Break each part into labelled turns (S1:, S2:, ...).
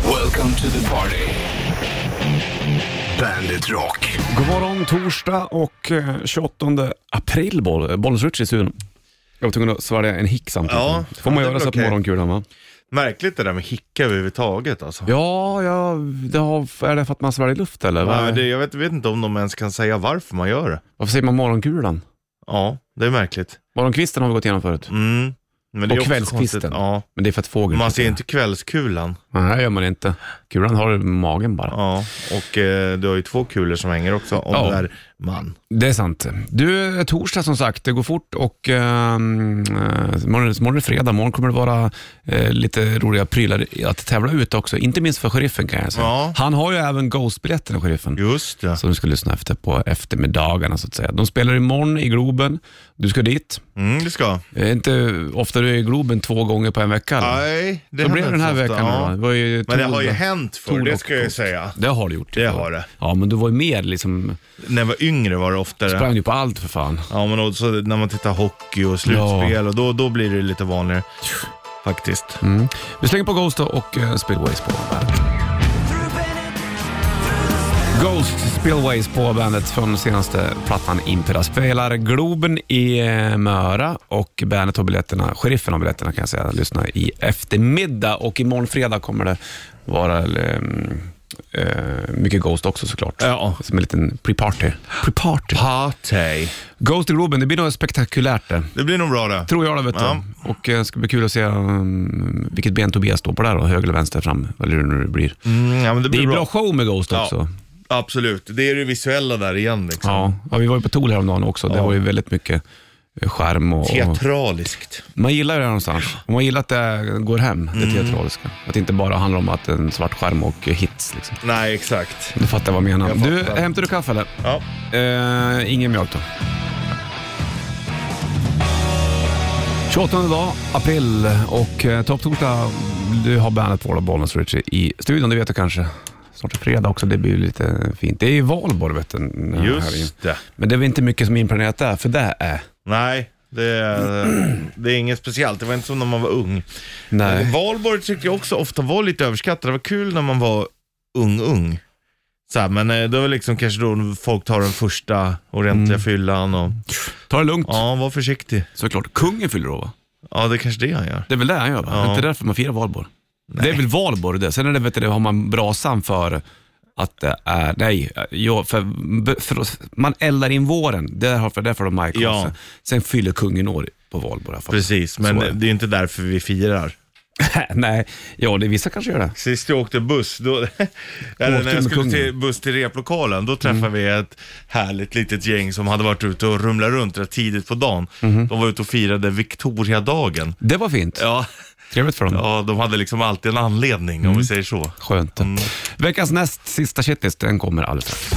S1: Welcome to the party. Bandit Rock.
S2: God morgon torsdag och eh, 28 april, boll, Bollens Rich i studion. Jag var tvungen att svälja en hick samtidigt.
S3: Ja,
S2: det får man
S3: ja, det
S2: göra
S3: är
S2: så
S3: okej.
S2: på morgonkulan va?
S3: Märkligt det där med hicka överhuvudtaget alltså.
S2: Ja, ja det har, är det för att man sväljer luft eller?
S3: Nej,
S2: Vad-
S3: men det, jag vet, vet inte om de ens kan säga varför man gör det.
S2: Varför säger man morgonkulan?
S3: Ja, det är märkligt.
S2: Morgonkvisten har vi gått igenom förut.
S3: Mm. Men det
S2: Och
S3: också
S2: kvällskvisten.
S3: konstigt. Ja.
S2: Men det är för att fågeln...
S3: Man ser inte kvällskulan.
S2: Nej, det gör man inte. Kulan har du i magen bara.
S3: Ja, och eh, du har ju två kulor som hänger också om
S2: Ja.
S3: du är man.
S2: Det är sant. Du, eh, torsdag som sagt, det går fort och ehm, eh, morgon, morgon är fredag. Morgon kommer det vara eh, lite roliga prylar att tävla ut också. Inte minst för sheriffen kan jag säga.
S3: Ja.
S2: Han har ju även Ghost-biljetterna, sheriffen.
S3: Just det.
S2: Som du ska lyssna efter på eftermiddagarna så att säga. De spelar imorgon i Globen. Du ska dit.
S3: Mm, det ska.
S2: Det är inte ofta du är i Globen två gånger på en vecka. eller?
S3: Nej, det
S2: Då
S3: händer
S2: blir det den här
S3: inte så ofta.
S2: veckan
S3: Ja.
S2: då. Det var ju
S3: Men det har ju
S2: Tornedal-
S3: hänt förr,
S2: Tornedal-
S3: det ska jag ju säga.
S2: Det har det gjort.
S3: Det har det.
S2: Ja, men du var ju mer liksom,
S3: När jag var yngre var det oftare.
S2: sprang ju på allt för fan.
S3: Ja, men också när man tittar hockey och slutspel och då, då blir det lite vanligare. Faktiskt.
S2: Mm. Vi slänger på Ghost då och eh, Spillways på bandet. Ghost Spillways på bandet från senaste plattan Impera. Spelar Globen i eh, Möra och bandet har biljetterna, sheriffen har biljetterna kan jag säga, lyssna i eftermiddag och imorgon fredag kommer det vara eh, eh, mycket Ghost också såklart.
S3: Ja.
S2: Som en liten pre-party. Pre-party.
S3: Party.
S2: Ghost i Globen, det blir något spektakulärt det.
S3: Det blir nog bra det.
S2: Tror jag det vet du.
S3: Ja.
S2: Och eh, det ska bli kul att se um, vilket ben Tobias står på där då, höger eller vänster fram, eller hur nu det blir.
S3: Mm, ja, men det
S2: Det
S3: blir
S2: är
S3: bra.
S2: bra show med Ghost
S3: Ja.
S2: också.
S3: Absolut, det är det visuella där igen liksom.
S2: Ja. ja, vi var ju på Tool häromdagen också. Det
S3: Ja.
S2: var ju väldigt mycket eh, skärm och... och
S3: Teatraliskt.
S2: man gillar ju det här någonstans. Och man gillar att det går hem, det
S3: Mm.
S2: teatraliska. Att det inte bara handlar om att det är en svart skärm och eh, hits. Liksom.
S3: Nej, exakt.
S2: Du fattar vad jag menar.
S3: Jag
S2: du,
S3: fattar.
S2: hämtar du kaffe eller?
S3: Ja.
S2: Eh, ingen mjölk då. 28 dag, april och eh, topptorsdag. Du har bandet Vård och Bollnäs Richie i studion, det vet du kanske. Snart är fredag också, det blir ju lite fint. Det är ju valborg vet du. den här helgen.
S3: Just det.
S2: Men det är väl inte mycket som är inplanerat där, för det är...
S3: Nej, det är, det är inget speciellt. Det var inte som när man var ung.
S2: Nej.
S3: Valborg tyckte jag också ofta var lite överskattat. Det var kul när man var ung, ung. Så här, men eh, det var liksom kanske då folk tar den första
S2: Mm.
S3: ordentliga fyllan och
S2: Ta det lugnt,
S3: ja, var försiktig.
S2: såklart. Kungen fyller år va?
S3: Ja, det är kanske det han gör.
S2: Det är väl det han gör va?
S3: Ja.
S2: Det är inte därför man firar valborg. Det är väl valborg det. Sen är det, vet du, det har man brasan för att det är, nej, jag, för, för, man eldar in våren. Det har för därför de har
S3: Ja.
S2: ja. Sen fyller kungen år på valborg. i alla fall.
S3: Precis, men
S2: Så är det.
S3: det är inte därför vi firar.
S2: nej, ja det, vissa kanske gör det.
S3: Sist jag åkte buss, då, eller när
S2: med
S3: jag skulle
S2: kungen. Mm.
S3: till, buss till replokalen, då träffade vi ett härligt litet gäng som hade varit ute och rumlat runt rätt tidigt på dagen.
S2: Mm-hmm.
S3: De var ute och firade Victoriadagen.
S2: Det var fint.
S3: Ja,
S2: Trevligt för dem.
S3: ja, de hade liksom alltid en anledning om
S2: Mm.
S3: vi säger så.
S2: Skönt.
S3: Mm.
S2: Veckans näst sista shitlist, den kommer alldeles strax.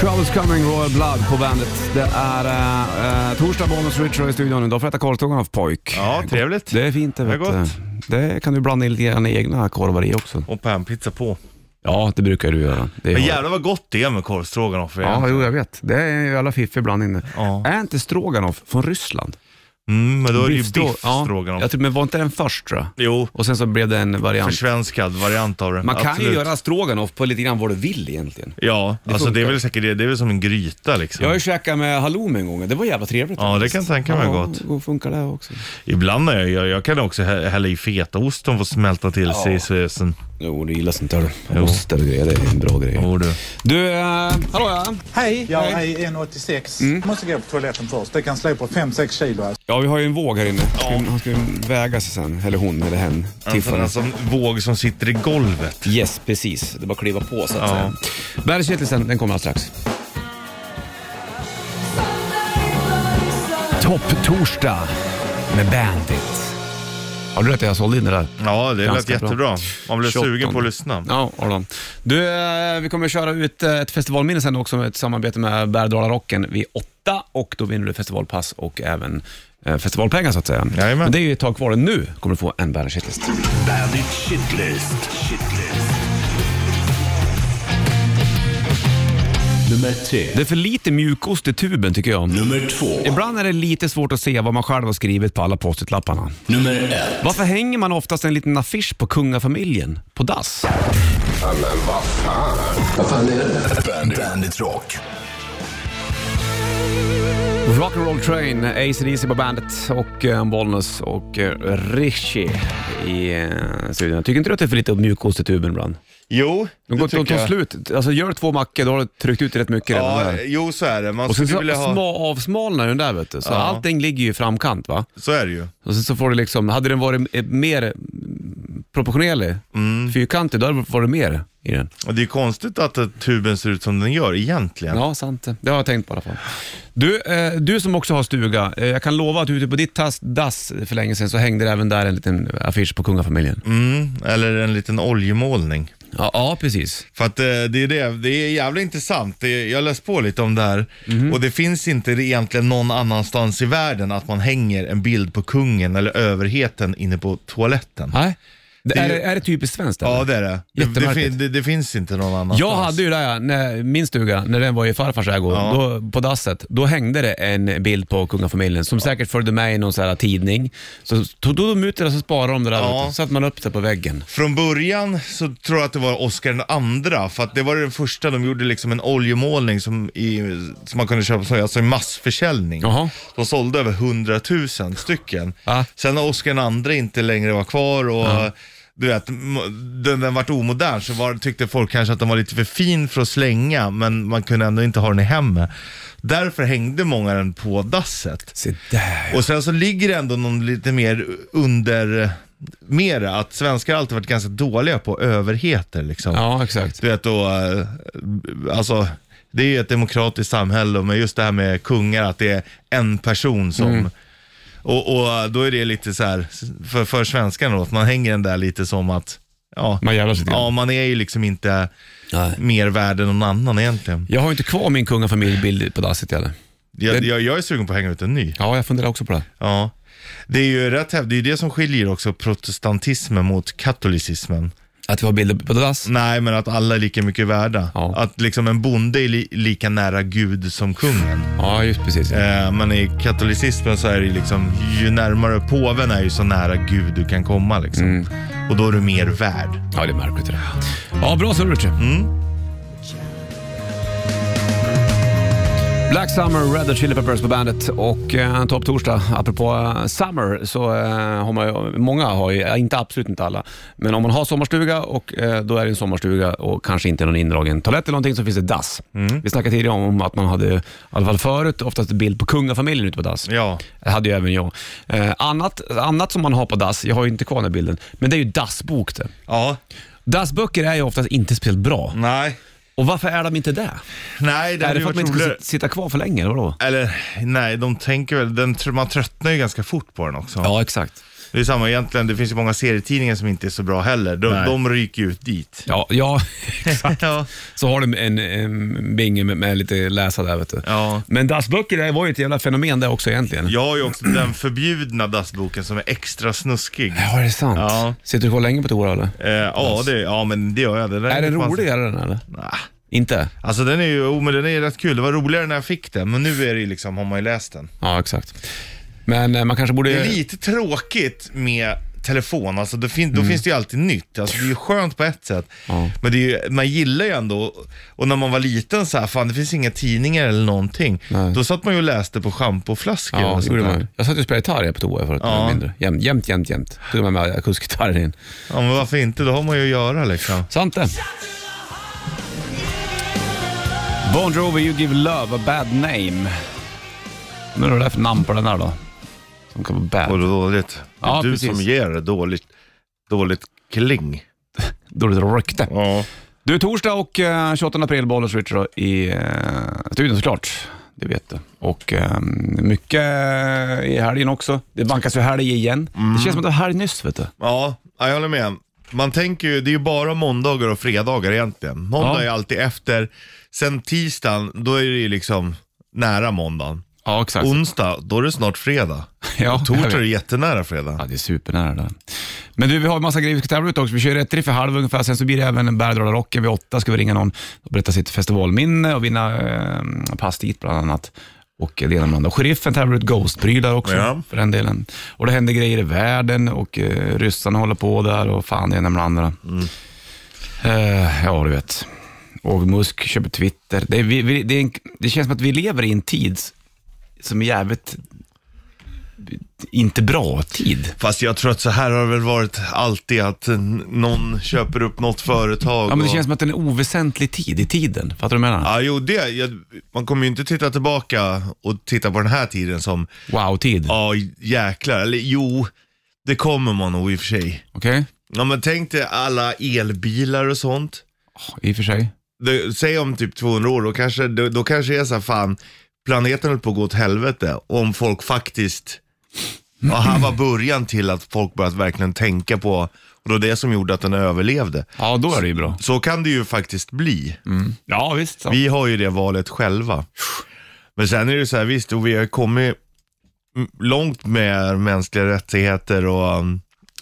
S2: Troubles Coming, Royal Blood på bandet. Det är eh, eh, torsdag, Bonus Ritual i studion. Idag får jag äta korvstångarna för pojk.
S3: Ja, trevligt.
S2: Det är fint det.
S3: Det är
S2: Vet du.
S3: gott.
S2: det kan du blanda in lite grann i egna korvar i också.
S3: Och panpizza på.
S2: Ja, det brukar du göra. Det är
S3: Men jävlar vad gott det är med korvstroganoff igen.
S2: Ja, jo, jag vet. Det är ju alla fiffig bland inne.
S3: Ja.
S2: Är inte stroganoff från Ryssland?
S3: Mm, men då är det ju
S2: Biffstrå- Ja,
S3: biffstroganoff.
S2: jag tror, men var inte den först tror jag?
S3: Jo,
S2: Och sen så blev det en variant.
S3: försvenskad variant av det.
S2: Man kan
S3: Absolut.
S2: ju göra stroganoff på lite grann vad du vill egentligen.
S3: Ja, alltså det är
S2: funkar.
S3: väl säkert det. Det är väl som en gryta liksom.
S2: Jag har ju käkat med halloumi en gång, det var jävla trevligt.
S3: Ja, det kan jag tänka mig
S2: ja,
S3: gott.
S2: och funkar det också.
S3: Ibland när jag gör, jag kan också hä- hälla i fetaost som får smälta till sig i
S2: Ja.
S3: såsen.
S2: Jo, du gillar sånt där du.
S3: Jo.
S2: Oster och grejer, det är en bra grej.
S3: Jo, Oh, du.
S2: Du, äh, hallå ja.
S4: Hej, jag är 1,86. Måste gå på toaletten först. Det kan slå på 5-6 kilo. Alltså.
S2: Ja, vi har ju en våg här inne. Ska, Han ska ju väga sig sen, eller hon eller hen.
S3: En sån
S2: Tiffany.
S3: där som våg som sitter i golvet.
S2: Yes, precis. Det är bara att kliva på så att
S3: Ja.
S2: säga. Världskittelsen, den kommer alldeles strax. Topp-torsdag med Bandit. Har du rätt? Jag sålde in det där.
S3: Ja, det lät
S2: Ganska bra.
S3: jättebra. Man blev
S2: 28.
S3: sugen på att lyssna.
S2: Ja, har de. Du, eh, vi kommer köra ut eh, ett festivalminne sen också med ett samarbete med Bärdalarocken vid åtta och då vinner du festivalpass och även eh, festivalpengar så att säga.
S3: Jajamän.
S2: Men det är ju ett tag kvar. Nu kommer du få en Bandit shitlist.
S1: Bandit Shitlist. Shitlist. Nummer tre.
S2: Det är för lite mjukost i tuben tycker jag.
S1: Nummer två.
S2: Ibland är det lite svårt att se vad man själv har skrivit på alla post-it-lapparna.
S1: Nummer ett.
S2: Varför hänger man oftast en liten affisch på kungafamiljen på dass?
S1: Bandit. Bandit Rock.
S2: Rock'n'Roll Train, AC/DC på bandet och eh, Bollnäs och eh, Rishi i eh, studion. Tycker inte du att det är för lite mjukost i tuben ibland?
S3: Jo,
S2: De,
S3: det
S2: går, de
S3: tycker
S2: tar
S3: jag.
S2: slut. Alltså gör du två mackor, då har du tryckt ut rätt mycket redan
S3: Ja,
S2: där.
S3: jo så är det. Man
S2: Och sen
S3: skulle
S2: så
S3: vilja ha...
S2: små avsmalnar den där vet du. Så
S3: Ja.
S2: allting ligger ju i framkant va.
S3: Så är det ju.
S2: Och sen så får du liksom, hade den varit eh, mer mm, proportionerlig,
S3: Mm.
S2: fyrkantig, då hade det varit mer i den.
S3: Och det är konstigt att eh, tuben ser ut som den gör egentligen.
S2: Ja, sant det. Det har jag tänkt på i alla fall. Du, eh, du som också har stuga, eh, jag kan lova att ute på ditt tass, dass för länge sedan så hängde det även där en liten affisch på kungafamiljen.
S3: Mm, eller en liten oljemålning.
S2: Ja, ja, precis.
S3: För att eh, det är det, det är jävligt intressant. Det, jag läste på lite om det här
S2: Mhm.
S3: och det finns inte egentligen någon annanstans i världen att man hänger en bild på kungen eller överheten inne på toaletten.
S2: Nej. Det,
S3: Det är
S2: är,
S3: ju-
S2: det- är det typiskt svenskt? eller?
S3: Ja det är det. Det, det,
S2: Jättemärkligt.
S3: fin- det, det finns inte någon annanstans.
S2: Jag hade ju där, när, min stuga, när den var i farfars ägo,
S3: Ja.
S2: då, på dasset, då hängde det en bild på kungafamiljen som säkert följde med i någon så här tidning. Så tog de ut det där så sparade de det där,
S3: Ja.
S2: vet du. satte man upp det på väggen.
S3: Från början så tror jag att det var Oscar den andra, för att det var det första de gjorde liksom en oljemålning som, i, som man kunde köpa som alltså i massförsäljning.
S2: Jaha.
S3: De sålde över 100 000 stycken.
S2: Va?
S3: Sen när Oscar den andra inte längre var kvar och du vet, m- den, den vart omodern så var, tyckte folk kanske att den var lite för fin för att slänga, men man kunde ändå inte ha den i hemmet. Därför hängde många den på dasset.
S2: Se där.
S3: Och sen så ligger det ändå någon lite mer under, mera, att svenskar har alltid varit ganska dåliga på överheter liksom.
S2: Ja, exakt.
S3: Du vet då, eh, alltså det är ju ett demokratiskt samhälle, men just det här med kungar, att det är en person som
S2: Mm.
S3: och, och då är det lite så här för, för svenskarna då, att man hänger den där lite som att, ja,
S2: Man jävlar sig till.
S3: ja man är ju liksom inte
S2: Nej.
S3: mer värd än någon annan egentligen.
S2: Jag har ju inte kvar min kungafamiljbild på dasset heller.
S3: Jag,
S2: Men-
S3: jag, jag är sugen på att hänga ut en ny.
S2: Ja, jag funderar också på det.
S3: Ja, det är ju rätt hävd. Det är ju det som skiljer också protestantismen mot katolicismen.
S2: Att vi har bilder på dass?
S3: Nej, men att alla är lika mycket värda.
S2: Ja.
S3: Att liksom en bonde är li- lika nära Gud som kungen.
S2: Ja, just precis.
S3: Eh, men i katolicismen så är det ju liksom, ju närmare påven är ju så nära Gud du kan komma liksom.
S2: Mm.
S3: Och då är du mer värd.
S2: Ja, det är märkligt det Mm. där. Ja, bra surr Richie. Black Summer, Red Hot Chili Peppers på bandet och eh, Topp Torsdag. Apropå eh, Summer så eh, har man ju, många har ju, eh, inte absolut inte alla, men om man har sommarstuga och eh, då är det en sommarstuga och kanske inte någon indragen toalett eller någonting så finns det dass. Vi snackade tidigare om att man hade, i alla fall förut, oftast bild på kungafamiljen ute på dass.
S3: Ja.
S2: Det hade ju även jag. Eh, annat, annat som man har på dass, jag har ju inte kvar den här bilden, men det är ju dassbok det.
S3: Ja.
S2: Dassböcker är ju oftast inte speciellt bra.
S3: Nej.
S2: Och varför är de inte det?
S3: Nej, det
S2: är
S3: hade
S2: det
S3: ju
S2: för att man
S3: varit
S2: inte ska
S3: roligare.
S2: sit- sitta kvar för länge eller vadå?
S3: Eller nej, de tänker väl, den, tr- man tröttnar ju ganska fort på den också.
S2: Ja, exakt.
S3: Det är samma egentligen, det finns ju många serietidningar som inte är så bra heller. De,
S2: Nej.
S3: de ryker ju ut dit.
S2: Ja, ja exakt.
S3: Ja.
S2: Så har du en, en binge med, med lite läsa där vet du.
S3: Ja.
S2: Men dassböcker det var ju ett jävla fenomen det också egentligen.
S3: Jag har ju också den förbjudna dassboken som är extra snuskig.
S2: Ja, är det sant?
S3: Ja.
S2: Sitter du kvar länge på toa eller?
S3: Eh, ja, det, ja, men det gör jag. Det där
S2: Alltså. Är den
S3: inte fan-
S2: roligare den eller?
S3: Nah.
S2: Inte?
S3: Alltså den är ju, oh, men den är ju rätt kul. Det var roligare när jag fick den, men nu är det ju liksom, har man ju läst den.
S2: Ja, exakt. Men eh, man kanske borde...
S3: Det är lite tråkigt med telefon, alltså det fin- då finns det ju alltid nytt. Alltså det är ju skönt på ett sätt,
S2: Ja.
S3: men det är ju, man gillar ju ändå, och när man var liten så här, fan det finns inga tidningar eller någonting.
S2: Nej.
S3: Då satt man ju och läste på schampoflaskor
S2: Ja,
S3: och
S2: det
S3: sånt
S2: gjorde man.
S3: där.
S2: ju. Jag satt ju och spelade gitarr på toa förut när jag var
S3: Ja.
S2: mindre. Jämt, jämt, jämt. jämt. Tog med mig akusgitarren in.
S3: Ja, men varför inte? Då har man ju att göra liksom.
S2: Sant det. Bon Jovi, You Give Love a Bad Name. Nu är det där för namn på den här då? Som kan vara
S3: Och
S2: bad.
S3: dåligt. Det är
S2: Ja,
S3: du
S2: precis.
S3: som ger det dåligt, dåligt kling.
S2: Dåligt rykte.
S3: Ja.
S2: Du, torsdag och eh, 28 april, Bollers Richard då, i eh, studion såklart. Det vet du. Och eh, mycket eh, i helgen också. Det vankas ju helg igen. Det känns som att det var helg nyss, vet du.
S3: Ja, jag håller med. Man tänker ju, det är ju bara måndagar och fredagar egentligen. Måndag
S2: Ja.
S3: är alltid efter. Sen tisdagen, då är det ju liksom nära måndagen.
S2: Ja, exakt.
S3: Onsdag, då är det snart fredag.
S2: ja, jag
S3: Torsdag är
S2: vet.
S3: det jättenära
S2: Ja,
S3: fredag.
S2: det är supernära det. Men du, vi har en massa grejer vi ska tävla ut också. Vi kör rätt riff för halv ungefär, sen så blir det även en Bärdala-rocken vid åtta. Ska vi ringa någon och berätta sitt festivalminne och vinna eh, pass dit bland annat. Och eh, det ena med det andra. Sheriffen tävlar ut Ghost-prylar också,
S5: Ja.
S2: för den delen. Och det händer grejer i världen och eh, ryssarna håller på där och fan det ena med det andra. Eh, ja, du vet. Och Musk köper Twitter. Det, är, vi, vi, det, är en, det känns som att vi lever i en tid som är jävligt inte bra tid.
S3: Fast jag tror att så här har det väl varit alltid, att n- någon köper upp något företag.
S2: Ja, men det
S3: och-
S2: känns som att det är en oväsentlig tid i tiden. Fattar du vad jag menar?
S3: Ja, jo, det, jag, man kommer ju inte titta tillbaka och titta på den här tiden som,
S2: Wow-tid.
S3: ja jäklar, eller jo, det kommer man nog i och för sig.
S2: Okej?
S3: Ja, men tänk dig alla elbilar och sånt.
S2: I och för sig.
S3: Det, säg om typ 200 år, då kanske, då, då kanske det är så här, fan, planeten höll på att gå åt helvete. Om folk faktiskt, ja, här var början till att folk började verkligen tänka på, och det var det som gjorde att den överlevde.
S2: Ja, då är det ju bra.
S3: Så kan det ju faktiskt bli.
S2: Ja, visst. så.
S3: Vi har ju det valet själva. Men sen är det ju så här, visst, och vi har kommit m- långt med mänskliga rättigheter och, um,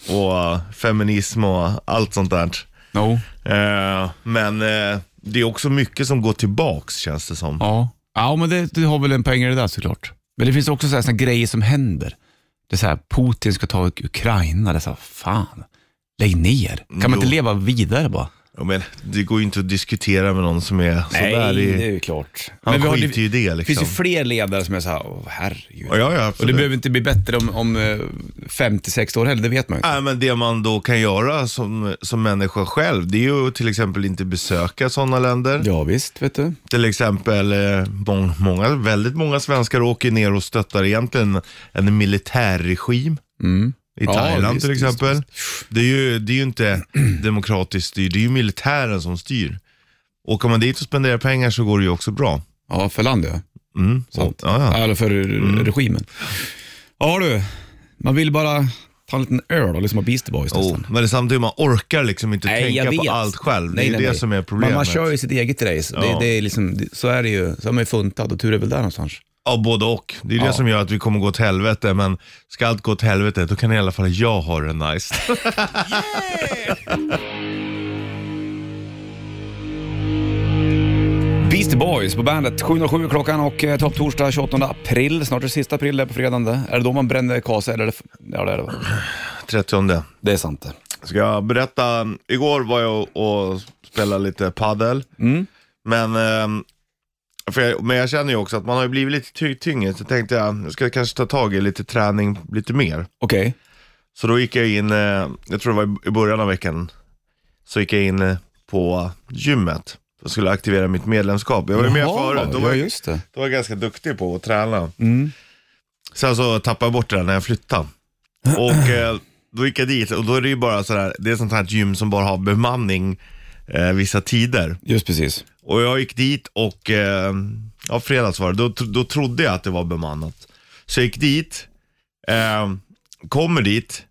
S3: och uh, feminism och allt sånt där.
S2: No.
S3: Eh, Men eh, det är också mycket som går tillbaks känns det som.
S2: Ja. ja, men det, du har väl en poäng i det där såklart. Men det finns också så här, såna grejer som händer. Det är så här, Putin ska ta Ukraina. Det är så här, fan. Lägg ner. Kan man
S3: Jo.
S2: inte leva vidare bara?
S3: Ja, Men det går ju inte att diskutera med någon som är sådär. i-
S2: ju klart.
S3: Han skiter ju i det, liksom.
S2: Det finns ju fler ledare som är så här, åh herregud.
S3: Ja, ja, ja,
S2: Och det
S3: absolut.
S2: behöver inte bli bättre om, om 50-60 år heller, det vet man ju.
S3: Nej, men det man då kan göra som, som människa själv, det är ju till exempel inte besöka sådana länder.
S2: Ja, visst, vet du.
S3: Till exempel, eh, mång- många, väldigt många svenskar åker ner och stöttar egentligen en militärregim. I
S2: Mm. Ja,
S3: Thailand
S2: visst,
S3: till
S2: visst,
S3: exempel. Det, är ju, det är ju inte demokratiskt styr, det är ju militären som styr. Åker man dit och spenderar pengar så går det ju också bra.
S2: Ja, för landet ja.
S3: Mm.
S2: Sant.
S3: Ja, Mm. ja.
S2: Eller för regimen. Ja du, man vill bara ta en liten öl och lyssna på Beastie Boys
S3: Oh,
S2: nästan.
S3: men det är samtidigt, man orkar liksom inte tänka på allt själv.
S2: Nej,
S3: det är
S2: nej,
S3: det
S2: nej.
S3: som är problemet.
S2: Man, man kör ju sitt eget race. Det,
S3: Ja.
S2: det är liksom, det- så är det ju. Så är man ju funtad och tur är väl där någonstans.
S3: Ja, både och. Det är
S2: Ja.
S3: det som gör att vi kommer gå åt helvete, men ska allt gå åt helvete, då kan i alla fall jag ha det nice.
S2: Beastie Boys på bandet. 7.07 klockan och eh, topp torsdag 28 april. Snart är det sista april där på fredagen. det. Är det då man bränner kase? Eller är det, f- ja, det är det va?
S3: 30.
S2: Det är sant det.
S3: Ska jag berätta, igår var jag och spelade lite padel.
S2: Mm.
S3: Men, ehm, för jag, men jag känner ju också att man har ju blivit lite ty- tyngre, så tänkte jag, jag ska kanske ta tag i lite träning lite mer.
S2: Okej.
S3: Så då gick jag in, eh, jag tror det var i- i början av veckan, så gick jag in eh, på gymmet. Jag skulle aktivera mitt medlemskap. Jag var ju med
S2: Jaha,
S3: förut, då var,
S2: Ja,
S3: jag-
S2: just det.
S3: då var jag ganska duktig på att träna.
S2: Mm.
S3: Sen så tappade jag bort det där när jag flyttade. Och eh, då gick jag dit och då är det ju bara sådär, det är sånt här gym som bara har bemanning eh, vissa tider.
S2: Just precis.
S3: Och jag gick dit och, eh, ja fredags var det, då, tro- då trodde jag att det var bemannat. Så jag gick dit, eh, kommer dit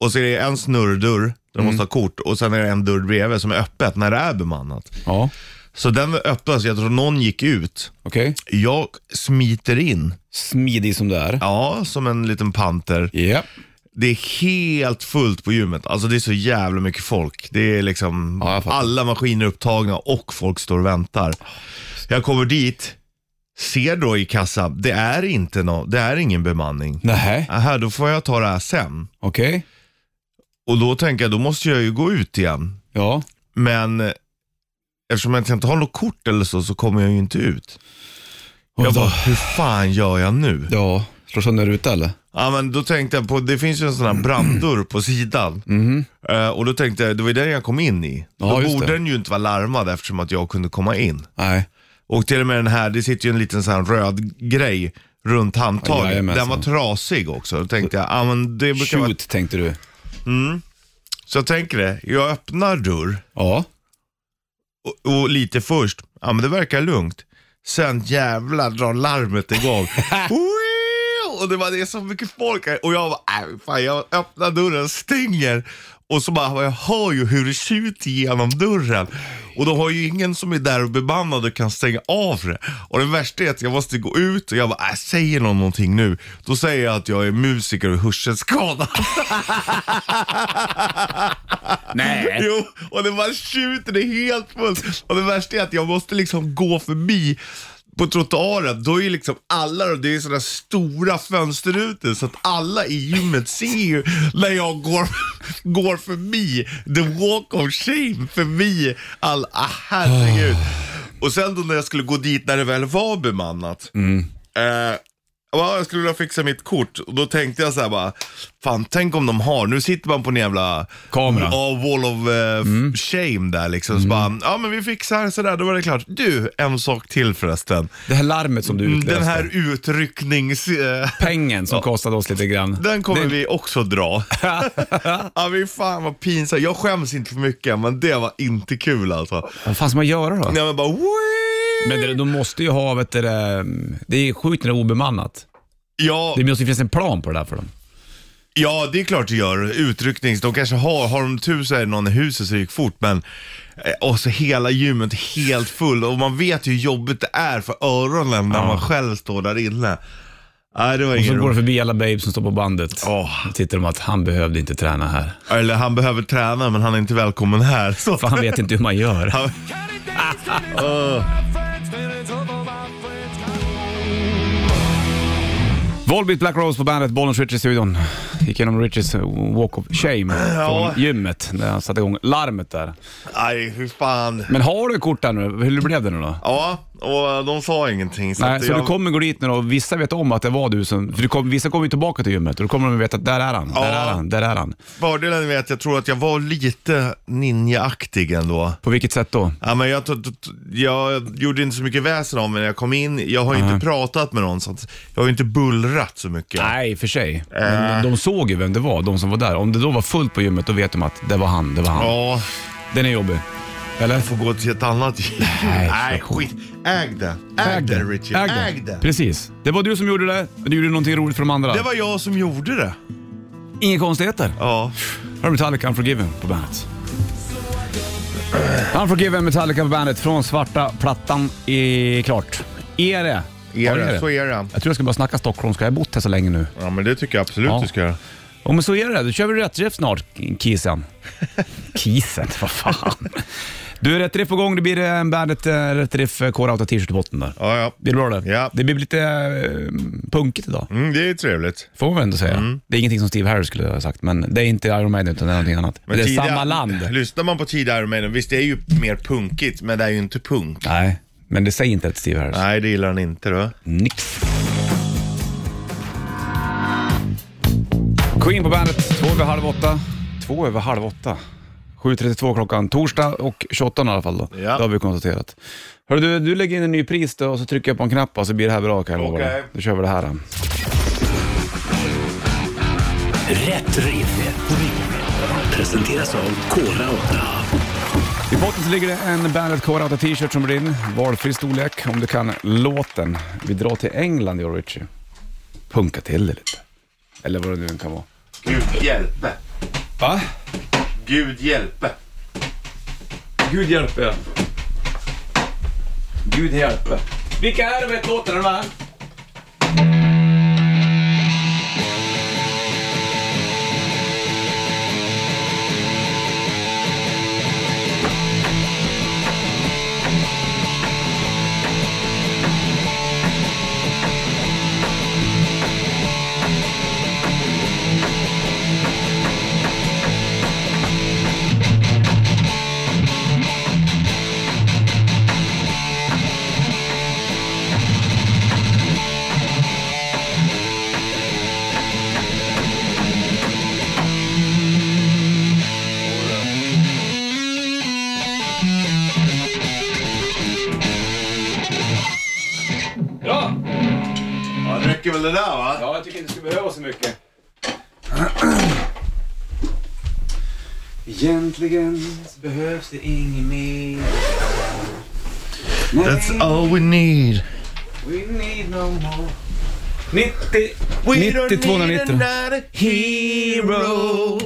S3: och så är det en snurrdörr där de måste ha kort och sen är det en dörr bredvid som är öppet när det är bemannat.
S2: Ja,
S3: Så den öppnas, jag tror någon gick ut.
S2: okej.
S3: Jag smiter in,
S2: Smidig som det är.
S3: ja som en liten panter.
S2: Ja.
S3: Det är helt fullt på gymmet. Alltså det är så jävla mycket folk. Det är liksom
S2: Ja, jag fattar.
S3: alla maskiner upptagna och folk står och väntar. Jag kommer dit, ser då i kassa, det är inte nå, det är ingen bemanning.
S2: Nähä,
S3: Aha, då får jag ta det här sen.
S2: okej.
S3: Och då tänker jag, då måste jag ju gå ut igen.
S2: Ja.
S3: Men eh, eftersom jag inte har något kort eller så, så kommer jag ju inte ut. Jag bara, hur fan gör jag nu?
S2: Ja, slår sönder ruta eller?
S3: Ja men då tänkte jag på, det finns ju en sån
S2: Mm.
S3: här branddörr på sidan. Eh, och då tänkte jag, det var ju den jag kom in i.
S2: Mm-hmm. Ja,
S3: då
S2: just
S3: borde
S2: det.
S3: den ju inte vara larmad eftersom att jag kunde komma in.
S2: Nej.
S3: Och till och med den här, det sitter ju en liten sån här röd grej runt
S2: Ja,
S3: handtaget.
S2: jajamensan.
S3: den var trasig också. Då tänkte jag, ja men det brukar vara...
S2: Shoot tänkte du.
S3: Så jag tänker det, jag öppnar dörr
S2: Ja.
S3: och, och lite först, ja men det verkar lugnt. Sen jävlar drar larmet igång. och det var det är så mycket folk här. Och jag bara, äh, fan jag öppnar dörren, stänger. Och så bara, jag hör ju hur det tjuter genom dörren. Och de har ju ingen som är där och bemannad och kan stänga av det. Och det värsta är att jag måste gå ut och jag bara, äh, säger någon någonting nu? Då säger jag att jag är musiker och hörselskadad.
S2: Nej.
S3: Jo, och det bara tjuter, det är helt fullt. Och det värsta är att jag måste liksom gå förbi på trottoaren, då är ju liksom alla, det är sådana stora fönsterrutor så att alla i gymmet ser ju när jag går, går förbi the walk of shame, förbi all, ah, herregud. Och sen då när jag skulle gå dit när det väl var bemannat. Eh, Ja, jag skulle vilja fixa mitt kort och då tänkte jag så här bara, fan tänk om de har, nu sitter man på en jävla
S2: Kamera. Mm.
S3: Ja, wall of eh, f- shame där liksom. Så bara, ja men vi fixar sådär, då var det klart. Du, en sak till förresten.
S2: Det här larmet som du utlöste.
S3: Mm, Den här utrycknings... eh,
S2: pengen som kostade oss lite grann.
S3: Den kommer
S2: Det-
S3: vi också dra. ja, men fan vad pinsamt. Jag skäms inte för mycket, men det var inte kul alltså.
S2: Vad fan ska man göra då?
S3: Nej men bara, "Wii!"
S2: Men det, de måste ju ha, vet du, det, det är sjukt när det är obemannat.
S3: ja,
S2: Det måste ju finnas en plan på det där för dem.
S3: Ja, det är klart det gör. Utrycknings, de kanske har, har de tur så är det någon i huset så det gick fort, men eh, och så hela gymmet är helt full och man vet ju hur jobbigt det är för öronen när man själv står där inne. Nej, det var
S2: Och så
S3: ingen
S2: går de
S3: roligt.
S2: förbi alla babes som står på bandet.
S3: Åh.
S2: Då Tittar de att han behövde inte träna här.
S3: Eller han behöver träna men han är inte välkommen här. Så.
S2: För han vet inte hur man gör.
S3: Han-
S2: Volbeat Black Rose på bandet, Bollens Richie i studion. Gick igenom Richies Walk of Shame
S3: Ja.
S2: från gymmet när han satte igång larmet där.
S3: Nej, hur fan.
S2: Men har du kort där nu? Hur blev det nu då?
S3: Ja, och de sa ingenting. Så
S2: Nej,
S3: att
S2: så
S3: jag...
S2: du kommer gå dit nu då och vissa vet om att det var du som... För du kom, vissa kommer ju tillbaka till gymmet och då kommer de att veta att där är han,
S3: Ja.
S2: där är han, där är han.
S3: Fördelen med att jag tror att jag var lite ninjaaktig ändå.
S2: På vilket sätt då?
S3: Ja, men jag, t- t- t- jag gjorde inte så mycket väsen av mig när jag kom in. Jag har ju inte pratat med någon, så att jag har ju inte bullrat så mycket.
S2: Nej, för sig. Men
S3: Eh.
S2: de såg ju vem det var, de som var där. Om det då var fullt på gymmet, då vet de att det var han, det var han.
S3: Ja,
S2: Den är jobbig. Eller?
S3: får gå till ett annat
S2: Nej,
S3: Nej skit. Äg det. Äg det, Richie.
S2: Äg det.
S3: Äg det.
S2: Precis. Det var du som gjorde det, men du gjorde någonting roligt för de andra.
S3: Det var jag som gjorde det.
S2: Inga konstigheter.
S3: Ja.
S2: Här har Metallica Unforgiven på bandet. Unforgiven Metallica på bandet från svarta plattan är klart. Är det? Ja,
S3: är det.
S2: Jag tror jag ska bara snacka stockholmska, jag har bott här så länge nu.
S3: Ja, men det tycker jag absolut
S2: Ja.
S3: du ska göra.
S2: Ja men så är det, då kör vi rätt riff snart, kisen. Kisen, vad fan. Du, rätt riff på gång, det blir en bandet eh, rätt riff eh, Core Outta t-shirt i botten där.
S3: Ja, ja.
S2: Blir det bra det?
S3: Ja.
S2: Det blir lite eh, punkigt idag,
S3: Mm, det är ju trevligt.
S2: får man väl ändå säga.
S3: Mm.
S2: Det är ingenting som Steve Harris skulle ha sagt, men det är inte Iron Maiden utan det är någonting annat. Men det är
S3: tidiga-
S2: samma land.
S3: Lyssnar man på tidiga Iron Maiden, visst det är ju mer punkigt, men det är ju inte punk.
S2: Nej, men det säger inte att Steve Harris.
S3: Nej, det gillar han inte då.
S2: Nix. Queen på bandet, två över halv åtta. Två över halv åtta. 7.32 klockan, torsdag och 28 i alla fall då.
S3: Ja.
S2: Det har vi konstaterat. Hörru du, du lägger in en ny pris då och så trycker jag på en knapp och så blir det här bra kan jag lova dig.
S3: Okej.
S2: Då kör vi det här. Då.
S1: Rätt riff. Presenteras av Kora 8.
S2: I botten så ligger det en Bandet Core Outta t-shirt som blir din. Valfri storlek om du kan låten. Vi drar till England i år Richie. Punka till det lite. Eller vad det nu kan vara.
S3: Gud hjälpe.
S2: Va?
S3: Gud hjälpe.
S2: Gud hjälpe. Gud hjälpe. Vilka är de här låtarna va? Ja!
S3: Ja, det räcker väl det där va?
S2: Ja, jag tycker inte det skulle behöva så mycket. Egentligen så behövs det inget mer.
S3: That's all we need.
S2: We need no more. 90, 90 290.
S3: another hero.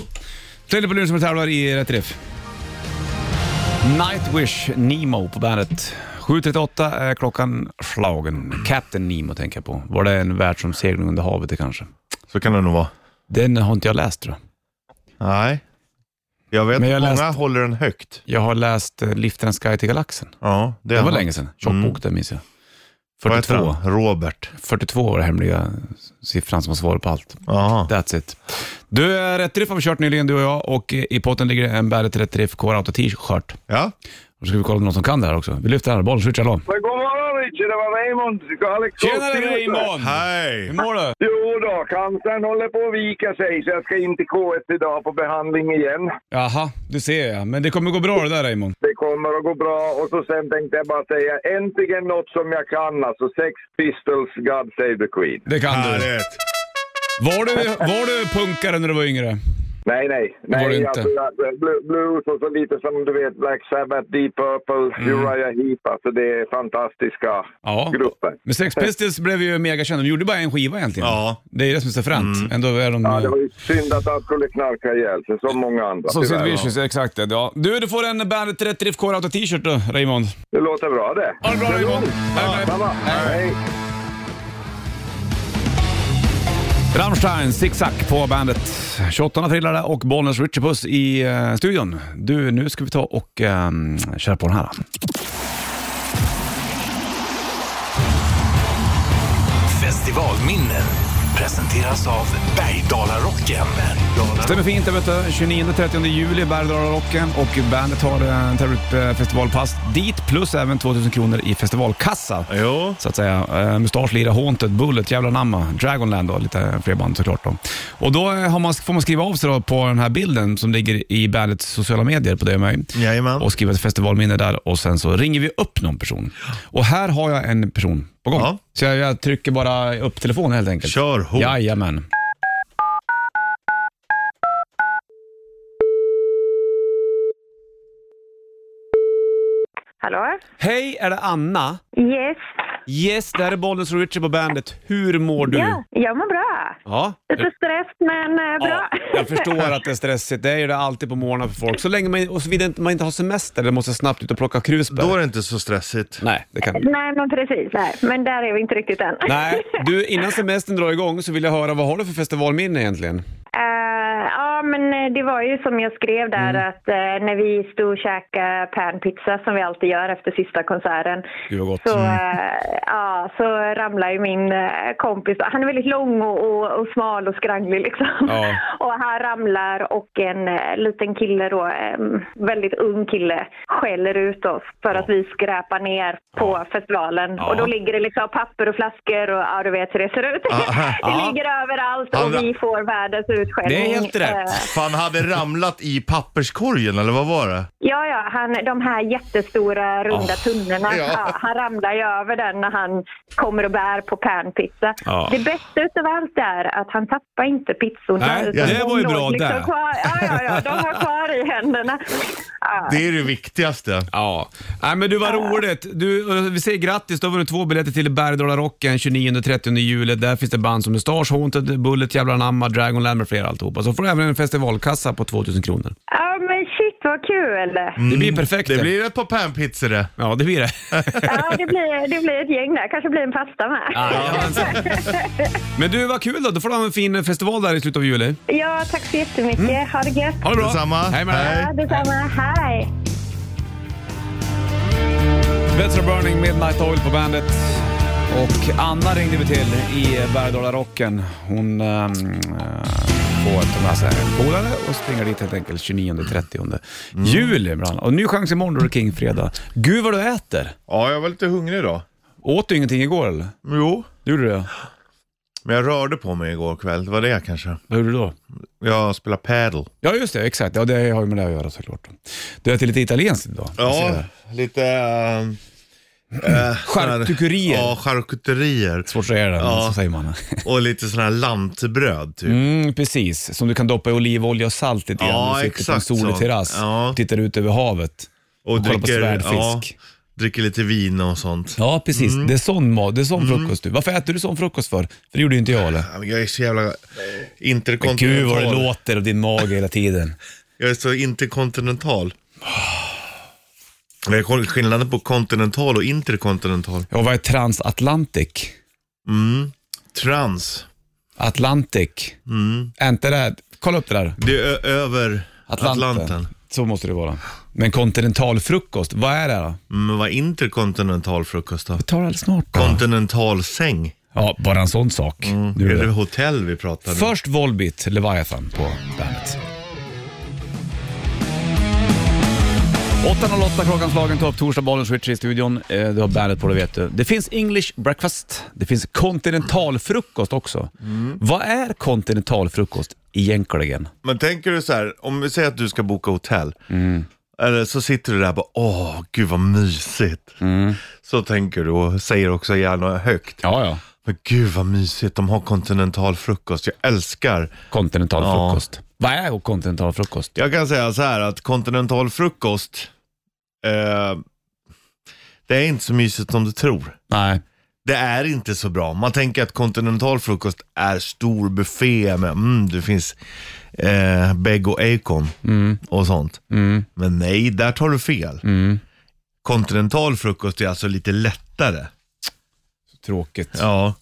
S2: Tredje på luren som tävlar i rätt riff. Nightwish Nemo på bandet. 7.38 är klockan slagen. Captain Nemo tänker jag på. Var det en världsomsegling under havet det kanske?
S3: Så kan det nog vara.
S2: Den har inte jag läst tror jag.
S3: Nej. Jag vet
S2: Men jag
S3: många
S2: läste-
S3: håller den högt.
S2: Jag har läst eh, Lift and Sky till Galaxen.
S3: Ja, det,
S2: Det
S3: har
S2: var
S3: man.
S2: länge sedan. Tjock bok där minns jag.
S3: Vad heter
S2: 42.
S3: han? Robert.
S2: 42 var den hemliga siffran som var svaret på allt.
S3: Ja.
S2: That's it. Du, eh, Rätt Riff har vi kört nyligen du och jag och eh, i potten ligger en Bandet Rätt Riff Core Auto T-shirt.
S3: ja.
S2: Då ska vi kolla om någon som kan det här också. Vi lyfter här, bollen, switch hallå.
S5: Men god morgon Richard, det var Raymond. Alex
S2: Tjenare
S5: Kort.
S2: Raymond!
S3: Hej!
S2: Hur mår du?
S5: Jo då, cancern håller på att vika sig så jag ska in till K1 idag på behandling igen.
S2: Jaha, du ser jag. Men det kommer gå bra det där Raymond.
S5: Det kommer att gå bra och så sen tänkte jag bara säga äntligen något som jag kan alltså. Sex Pistols, God Save the Queen.
S2: Det kan du.
S3: Härligt!
S2: Var du, var du punkare när du var yngre?
S5: Nej, nej.
S2: var det
S5: nej
S2: inte.
S5: alltså, jag- blu- blues och så lite som du vet Black Sabbath, Deep Purple, Uriah Heep. Alltså det är fantastiska
S2: Mm. Ja.
S5: grupper.
S2: Men Sex Pistols blev ju megakända. De gjorde bara en skiva egentligen.
S3: Ja.
S2: Det är det som är så fränt. Ändå är de...
S5: Ja, det var ju synd att han skulle knarka ihjäl sig som många andra.
S2: Som Sid
S5: tyvärr.
S2: Vicious, exakt det. Ja. Du, du får en Bandet Rätt Riff Core Auto T-shirt då, Raymond.
S5: Det låter bra det.
S2: Ha det bra Raymond! Hej, hej.
S5: Samma. Hej.
S2: Rammstein, zigzag på bandet. 28 april är det och Bollnäs Richard Puss i eh, studion. Du, nu ska vi ta och eh, köra på den här.
S1: Festivalminnen presenteras av Bergdalarocken.
S2: Stämmer fint, det vet du. 29-30 juli, Bergdala-rocken och bandet har eh, tar upp eh, festivalpass dit plus även 2000 kronor i festivalkassa.
S3: Jo.
S2: Så att säga. Eh, Mustasch, Lira, Haunted, Bullet, Jävla Namma, Dragonland och lite fler band såklart. Då. Och då eh, har man, får man skriva av sig då på den här bilden som ligger i bandets sociala medier på DMI.
S3: Jajamän.
S2: och skriva ett festivalminne där och sen så ringer vi upp någon person. Och här har jag en person på gång.
S3: Ja.
S2: Så jag, jag trycker bara upp telefonen helt enkelt.
S3: Kör hårt.
S2: Jajamän.
S6: Hallå?
S2: Hej, är det Anna?
S6: Yes.
S2: Yes, det här är Bollnäs och Richard på bandet. Hur mår du?
S6: Ja, jag mår bra.
S2: Ja.
S6: Lite stress, men eh, bra.
S2: Ja, jag förstår att det är stressigt. Det är ju det alltid på morgonen för folk. Så länge man, och såvida inte- man inte har semester eller måste snabbt ut och plocka krusbär.
S3: Då är det inte så stressigt.
S2: Nej, det kan
S6: Nej, men precis. Nej. Men där är vi inte riktigt än.
S2: Nej, du innan semestern drar igång så vill jag höra vad har du för festivalminne egentligen?
S6: Eh, ja, men eh, det var ju som jag skrev där
S2: Mm.
S6: att eh, när vi stod och käkade panpizza som vi alltid gör efter sista konserten.
S2: Gud vad gott. Mm.
S6: Så, eh, ja, så ramlar ju min eh, kompis, han är väldigt lång och, och, och smal och skranglig liksom.
S2: Ja.
S6: Och han ramlar och en eh, liten kille då, em, väldigt ung kille, skäller ut oss för att vi skräpar ner på festivalen.
S2: Ja. Ah,
S6: Och då ligger det liksom papper och flaskor och ja, du vet hur det ser ut.
S2: Ja.
S6: det ligger överallt
S3: Ja,
S6: och
S3: men-
S6: vi får världens utskällning.
S2: Det är helt rätt.
S6: Eh,
S3: Fan, hade ramlat i papperskorgen eller vad var det?
S6: Ja, ja, han, de här jättestora runda
S2: Ah.
S6: tunnorna.
S3: ja.
S6: Ja. han ramlar ju över den när han kommer och bär på panpizza.
S2: Ja.
S6: Det bästa utav allt är att han tappar inte pizzorna.
S2: Nej,
S6: utan
S2: det
S6: de
S2: var ju
S6: låg liksom
S2: bra där.
S6: Kvar, ja, ja, ja, de var kvar i händerna. Ja.
S3: Det är det viktigaste.
S2: Ja, Nej, men du var roligt. Du, eh, vi säger grattis, du har vunnit två biljetter till Bergdala Rocken 29-30 juli. Där finns det band som Mustasch, Haunted, Bullet, Jävla Anamma, Dragonland med flera alltihopa. Så får du även en festivalkassa på 2000 kronor.
S6: ja, men shit vad kul.
S2: Det blir perfekt
S3: Det blir ett par panpizzor det.
S2: Ja, det blir det.
S6: Ja, det blir, det blir ett gäng där. Kanske blir en pasta med.
S2: Ah, men du, vad kul då. Då får du ha en fin festival där i slutet av juli.
S6: Ja, tack så jättemycket. Ha det gött.
S2: Mm. Ha det bra.
S3: Detsamma.
S2: Hej med dig.
S6: Ja, detsamma. Hej.
S2: Beds are Burning, Midnight Oil på bandet. Och Anna ringde vi till i Bergdala-rocken. Hon ehm, eh, får ta med sig en polare och springer dit helt enkelt 29-30
S3: Mm.
S2: juli. Bland. annat. Och ny chans imorgon då är det Kingfredag. Gud vad du äter!
S3: Ja, jag var lite hungrig idag.
S2: Åt du ingenting igår eller?
S3: Jo.
S2: Gjorde du det?
S3: Men jag rörde på mig igår kväll. Det var det kanske.
S2: Vad gjorde du då?
S3: Jag spelar paddle.
S2: Ja just det, exakt. Ja, det har ju med det att göra såklart. Du äter lite italienskt idag. Jag ser det.
S3: lite... ehm, Äh,
S2: Charkuterier.
S3: Ja, charkuterier.
S2: Svårt att säga det, men
S3: Ja.
S2: så säger man.
S3: Och lite sådana här lantbröd typ.
S2: Mm, precis, som du kan doppa i olivolja och salt lite grann.
S3: Ja,
S2: du sitter på en
S3: exakt
S2: solig
S3: så.
S2: terrass
S3: Ja.
S2: tittar ut över havet.
S3: Och
S2: kollar på svärdfisk.
S3: Ja, dricker lite vin och sånt.
S2: Ja, precis.
S3: Mm.
S2: Det är sån mat, det är sån frukost du. Varför äter du sån frukost för? För det gjorde ju inte jag eller?
S3: Ja, men Jag är så jävla
S2: Men gud vad det
S3: interkontinental.
S2: låter av din mage hela tiden.
S3: Jag är så interkontinental. Vad är skillnaden på kontinental och interkontinental?
S2: Och vad är transatlantic?
S3: Mm. Trans.
S2: Atlantic?
S3: Mm.
S2: Är inte det här- Kolla upp det där.
S3: Det är ö- över
S2: Atlanten.
S3: Atlanten.
S2: Så måste det vara. Men kontinental frukost, vad är det då?
S3: Men vad är interkontinental frukost då?
S2: Vi tar det alldeles snart. då.
S3: Kontinental säng?
S2: Ja, bara en sån sak. Du,
S3: Är det
S2: det.
S3: hotell vi pratar nu?
S2: Först Volbeat, Leviathan på bandet. 8.08 klockan slagen, tar upp torsdag, Bollens Richie i studion. Eh, Du har bandet på det vet du. Det finns English breakfast, det finns kontinentalfrukost också.
S3: Mm.
S2: Vad är kontinentalfrukost egentligen?
S3: Men tänker du så här, om vi säger att du ska boka hotell. Eller så sitter du där och bara, åh gud vad mysigt. Så tänker du och säger också gärna högt.
S2: Ja, ja.
S3: Men gud vad mysigt, de har kontinental frukost. Jag älskar.
S2: Kontinentalfrukost. Vad är kontinentalfrukost?
S3: Jag kan säga så här att kontinental frukost, eh, det är inte så mysigt som du tror.
S2: Nej.
S3: Det är inte så bra. Man tänker att kontinental frukost är stor buffé med, mm, det finns eh, bägg och ejkon och sånt. Men nej, där tar du fel. Kontinental frukost är alltså lite lättare.
S2: Tråkigt.
S3: Ja,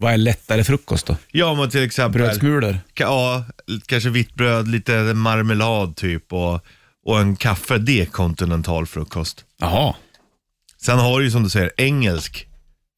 S2: Vad är lättare frukost då?
S3: ja men till exempel...
S2: Brödsmulor?
S3: Ka- Ja, kanske vitt bröd, lite marmelad typ och, och en kaffe. Det är kontinental frukost.
S2: Jaha.
S3: Sen har du ju som du säger engelsk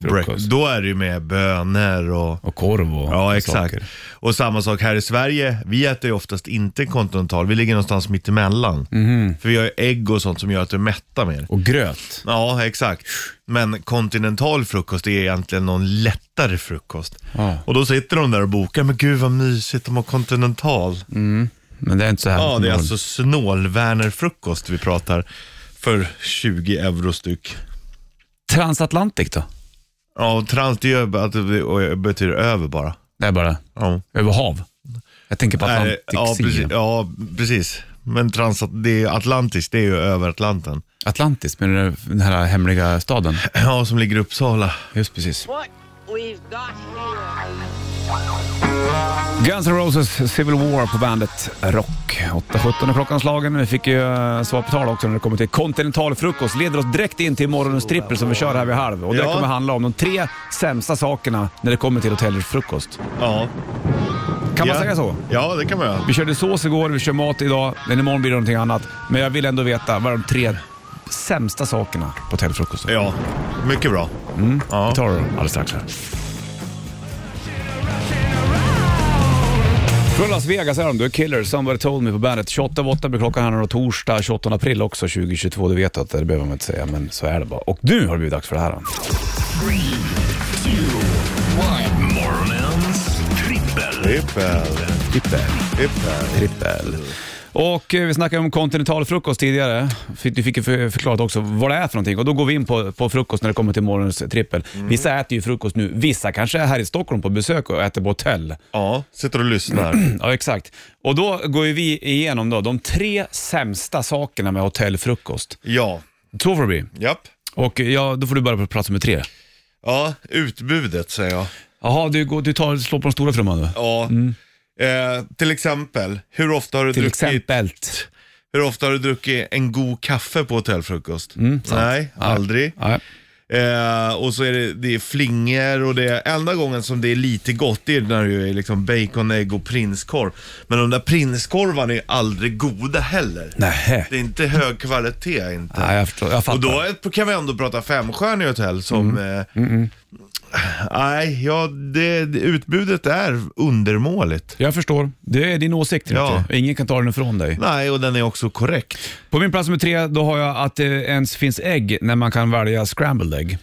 S2: Frukost.
S3: breakfast. Då är det ju med bönor och
S2: Och korv och
S3: Ja, exakt.
S2: saker.
S3: Och samma sak här i Sverige. Vi äter ju oftast inte kontinental. Vi ligger någonstans mitt emellan.
S2: Mhm.
S3: För vi har ju ägg och sånt som gör att du mättar mer.
S2: Och gröt.
S3: Ja, exakt. Men kontinental frukost är egentligen någon lättare frukost.
S2: Ja.
S3: Och då sitter de där och bokar. Men gud vad mysigt, de har kontinental.
S2: Men det är inte så här.
S3: Ja, det är
S2: förmodligen.
S3: alltså snålvärnerfrukost vi pratar för 20 euro styck.
S2: Transatlantic då?
S3: Ja, och trans det gör att det och betyder över bara.
S2: Det är bara
S3: Ja,
S2: över hav. Jag tänker på
S3: Nej,
S2: Atlantic
S3: ja, precis,
S2: Sea.
S3: ja precis. Men trans, det är ju Atlantis, det är ju över Atlanten.
S2: Atlantis med den där- den här hemliga staden.
S3: Ja, som ligger i Uppsala.
S2: Just precis.
S7: What we've got here.
S2: Guns N' Roses Civil War på bandet Rock. 8.17 är klockan slagen. Vi fick ju eh, svar på tal också när det kommer till kontinental frukost. Leder oss direkt in till morgonens trippel som vi kör här vid halv. Och det
S3: Ja.
S2: kommer handla om de tre sämsta sakerna när det kommer till hotellers frukost.
S3: Ja.
S2: Kan man
S3: ja.
S2: säga så?
S3: Ja, det kan man göra.
S2: Vi körde sås igår, vi kör mat idag, men imorgon blir det någonting annat. Men jag vill ändå veta, vad är de tre sämsta sakerna på hotellfrukosten?
S3: Ja, mycket bra.
S2: Vi tar det alldeles strax här. Från Las Vegas är de, du är killer, somebody told me på bandet. 28 av 8 blir klockan här nu då, torsdag 28 april också 2022. Du vet att det behöver man inte säga, men så är det bara. Och nu har det blivit dags för det här. Då.
S1: Morgonens trippel.
S3: Trippel,
S2: Trippel.
S3: trippel.
S2: Trippel. Och eh, vi snackade om kontinental frukost tidigare. Fick- Du fick ju för- förklarat också vad det är för någonting. Och då går vi in på, på frukost när det kommer till morgonens trippel. Vissa äter ju frukost nu. Vissa kanske är här i Stockholm på besök och äter på hotell.
S3: Ja, sitter och lyssnar.
S2: Ja, exakt. Och då går ju vi igenom då, de tre sämsta sakerna med hotellfrukost.
S3: Ja,
S2: Så får det bli.
S3: japp.
S2: Och eh, ja, då får du börja på plats nummer tre.
S3: Ja, utbudet säger jag.
S2: Jaha, du, går, du tar, slår på den stora trumman nu.
S3: Ja. Eh, till exempel, hur ofta har du
S2: Mm. Till
S3: druckit
S2: exempel.
S3: Hur ofta har du druckit en god kaffe på hotellfrukost?
S2: Mm,
S3: Nej, aldrig.
S2: Nej.
S3: Eh, och så är det, det är flingor och det är, enda gången som det är lite gott det är när det är liksom bacon, ägg och prinskorv. Men de där prinskorvarna är aldrig goda heller.
S2: Nähä.
S3: Det är inte hög kvalitet inte.
S2: Nej, jag förstår. Jag fattar. Mm.
S3: Och då är- kan vi ändå prata femstjärnig hotell som... Eh, Nej, ja, det, det- utbudet är undermåligt.
S2: Jag förstår. Det är din åsikt,
S3: Ja.
S2: Ricky. Ingen kan ta den ifrån dig.
S3: Nej, och den är också korrekt.
S2: På min plats nummer tre, då har jag att det ens finns ägg när man kan välja scrambled ägg.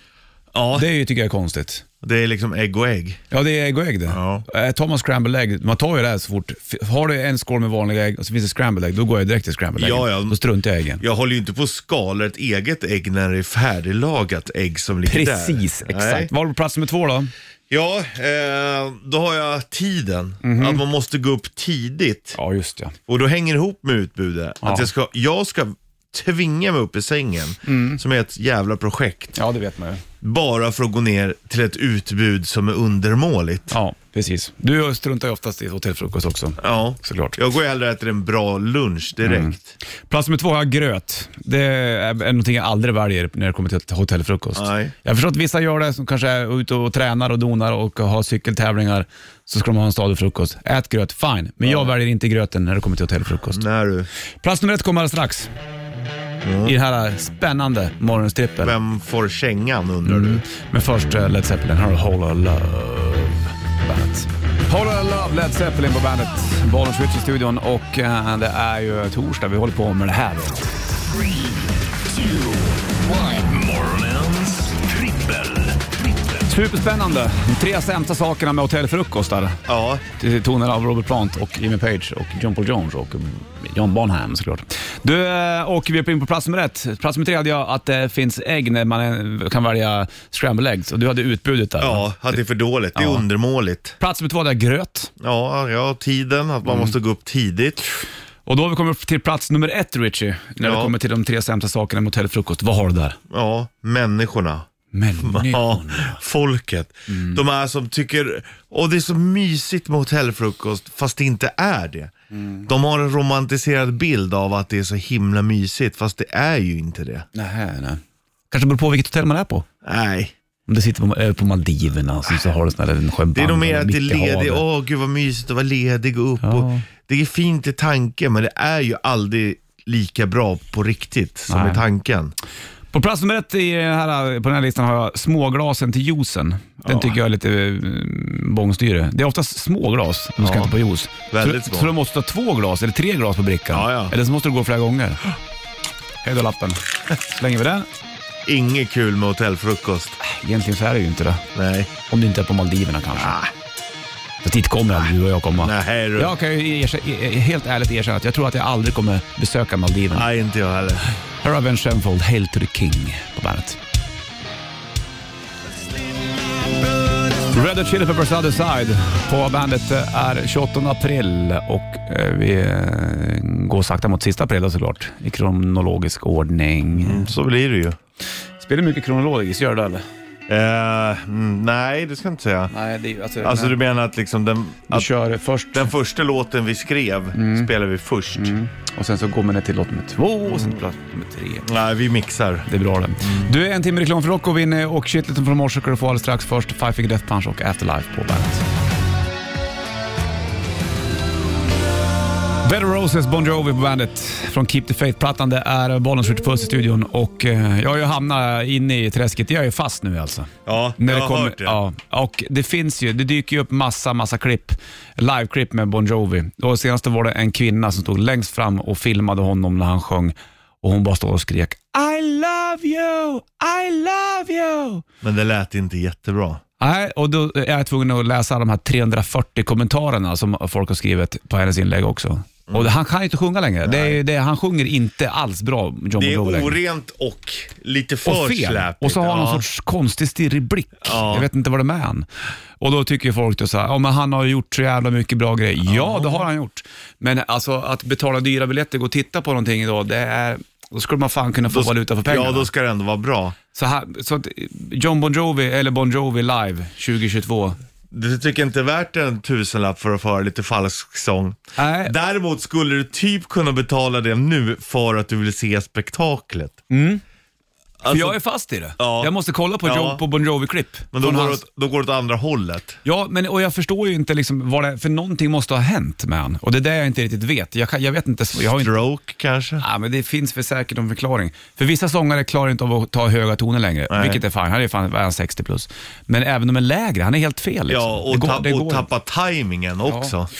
S3: Ja,
S2: Det är ju- tycker jag är konstigt.
S3: det är liksom ägg och ägg.
S2: Ja, det är ägg och ägg det.
S3: Ja.
S2: Eh, Tar man scrambled ägg, man tar ju det här så fort. F- Har du en skål med vanliga ägg och så finns det scrambled ägg, då går jag direkt till scrambled äggen.
S3: Ja, ja.
S2: Då struntar jag i äggen.
S3: Jag håller ju inte på att skala ett eget ägg när det är färdiglagat ägg som ligger där.
S2: Precis,
S3: Nej.
S2: exakt. Var du på plats nummer två då?
S3: Ja, eh, då har jag tiden. Att man måste gå upp tidigt.
S2: Mhm. Ja, just ja.
S3: Och då hänger det ihop med utbudet.
S2: Ja.
S3: Att jag ska, jag ska tvinga mig upp i sängen,
S2: Mm.
S3: som är ett jävla projekt,
S2: Ja, det vet man ju.
S3: bara för att gå ner till ett utbud som är undermåligt.
S2: Ja, precis. Du struntar ju oftast i hotellfrukost också.
S3: Ja,
S2: Såklart. Mm.
S3: Jag går ju hellre och äter en bra lunch direkt.
S2: Plats nummer två har jag gröt. Det är någonting jag aldrig väljer när det kommer till hotellfrukost.
S3: Nej.
S2: Jag förstår att vissa gör det som kanske är ute och tränar och donar och har cykeltävlingar. Så ska de ha en stadig frukost. Ät gröt, fine. Men jag väljer inte gröten när det kommer till hotellfrukost.
S3: När du,
S2: Plats nummer ett kommer alldeles strax. I den här spännande morgonstrippen.
S3: vem får kängan undrar du?
S2: Men först eh, Led Zeppelin. Här har du Whole Lotta Love på bandet. Whole Lotta Love, Led Zeppelin på bandet. Bollen Switch i studion och eh, det är ju torsdag. Vi håller på med det här.
S1: Morgonens trippel.
S2: Superspännande. De tre sämsta sakerna med hotellfrukostar.
S3: Ja,
S2: Till tonen av Robert Plant och Jimmy Page och John Paul Jones och mm, John Bonham såklart. Du, eh, och vi är in på plats nummer ett. Plats nummer tre hade jag att det finns ägg när man eh, kan välja scramble eggs och du hade utbudet där. va?
S3: ja att det är för dåligt. Det är
S2: Ja.
S3: undermåligt.
S2: Plats nummer två hade jag gröt.
S3: Ja, ja, tiden, att man
S2: Mm.
S3: måste gå upp tidigt.
S2: Och då har vi kommit till plats nummer ett, Richie. När det
S3: Ja.
S2: kommer till de tre sämsta sakerna med hotellfrukost. Vad har du där?
S3: Ja, människorna.
S2: Menyn.
S3: Ja, folket. De här som tycker, åh det är så mysigt med hotellfrukost, fast det inte är det. De har en romantiserad bild av att det är så himla mysigt, fast det är ju inte det.
S2: Nej, nej. Kanske beror på vilket hotell man är på.
S3: Nej.
S2: Om du sitter på, eh, på Maldiverna så, så har du sån här liten
S3: Det är nog
S2: champagne
S3: mer att det är
S2: mitt i
S3: ledig,
S2: havet.
S3: åh gud vad mysigt att vara ledig och upp.
S2: Ja.
S3: Och det är fint i tanken, men det är ju aldrig lika bra på riktigt som
S2: Nej.
S3: i tanken.
S2: På plats nummer ett i den här, på den här listan har jag småglasen till juicen. Den tycker jag är lite eh, bångstyre. Det är oftast småglas, de ska
S3: Ja.
S2: inte på juice.
S3: Väldigt
S2: så,
S3: små.
S2: så du måste ha två glas eller tre glas på brickan.
S3: Ja, ja.
S2: Eller så måste du gå flera gånger. Hej då lappen. Slänger vi den?
S3: Inget kul med hotellfrukost.
S2: Egentligen så är det ju inte det.
S3: Nej.
S2: Om du inte är på Maldiverna kanske. Fast dit kommer aldrig du och jag komma.
S3: Ah. Nej du.
S2: Jag kan ju erkä- e- e- helt ärligt erkänna att jag tror att jag aldrig kommer besöka Maldiverna.
S3: Nej, inte jag heller.
S2: Här har vi en Shenfold, Hail to the King på bandet. Red Hot Chili Peppers Other Side på bandet eh, är 28 april och eh, vi eh, går sakta mot sista april då såklart i kronologisk ordning.
S3: Så blir det ju.
S2: Spelar mycket kronologiskt, gör det eller?
S3: Eh, mm, nej, det ska jag inte säga.
S2: Nej, det är ju alltså...
S3: Alltså du menar att, liksom den,
S2: du Mm.
S3: att
S2: kör först
S3: den första låten vi skrev spelar vi först?
S2: och sen så går man ner till låt nummer två och sen till låt nummer tre.
S3: Nej, vi mixar.
S2: Det är bra det. Du är en timme reklam för Rocco Winnie och shitleten från morse ska du få alldeles strax. Först Five Finger Death Punch och Afterlife på bandet. Better Roses, Bon Jovi på bandet från Keep the Faith-plattan. Det är Bollens Ritch Puss i studion och eh, jag har ju hamnat inne i träsket. Jag är fast nu alltså.
S3: Ja,
S2: När det
S3: jag har
S2: kommer-
S3: hört det.
S2: Ja, och det finns ju, det dyker ju upp massa, massa klipp. Live-klipp med Bon Jovi. Och senast var det en kvinna som stod längst fram och filmade honom när han sjöng och hon bara stod och skrek I love you, I love you.
S3: Men det lät inte jättebra.
S2: Nej, och då är jag tvungen att läsa de här 340 kommentarerna som folk har skrivit på hennes inlägg också.
S3: Mm.
S2: Och han kan ju inte sjunga längre. Det är, ju- det, är- han sjunger inte alls bra, John
S3: Det är
S2: Bon Jovi längre.
S3: orent och lite
S2: och fel.
S3: för släpigt.
S2: Och så har han någon
S3: ja.
S2: sorts konstig stirrig blick.
S3: Ja.
S2: Jag vet inte vad det är med han. Och då tycker ju folk då så här, ja men han har ju gjort så jävla mycket bra grejer. Ja, det har han gjort. Men alltså att betala dyra biljetter, gå och titta på någonting idag, det är, då skulle man fan kunna få valuta för pengarna.
S3: Ja, då ska det ändå vara bra.
S2: Så, här, så att eh, John Bon Jovi, eller Bon Jovi live 2022.
S3: Du tycker inte värt en tusenlapp för att få höra lite falsk sång.
S2: Nej.
S3: Däremot skulle du typ kunna betala det nu för att du vill se spektaklet.
S2: Mm. för jag är fast i det.
S3: Alltså- Ja.
S2: Jag måste kolla på,
S3: Ja.
S2: jo, på Bon Jovi-klipp.
S3: Men då
S2: från
S3: går, det
S2: hans-
S3: åt, då går det åt andra hållet.
S2: Ja, men, och jag förstår ju inte liksom vad det, för någonting måste ha hänt med han. Och det är det jag inte riktigt vet. Jag, kan, jag vet inte, jag har inte
S3: Stroke kanske?
S2: Ja, men det finns för säkert en förklaring. För vissa sångare klarar inte av att ta höga toner längre,
S3: Nej.
S2: vilket är fine. Han är fan vad är han 60 plus. Men även om en lägre, han är helt fel. Liksom.
S3: Ja, och,
S2: Det går-
S3: tapp-
S2: det
S3: och
S2: går
S3: tappa tajmingen också.
S2: inte.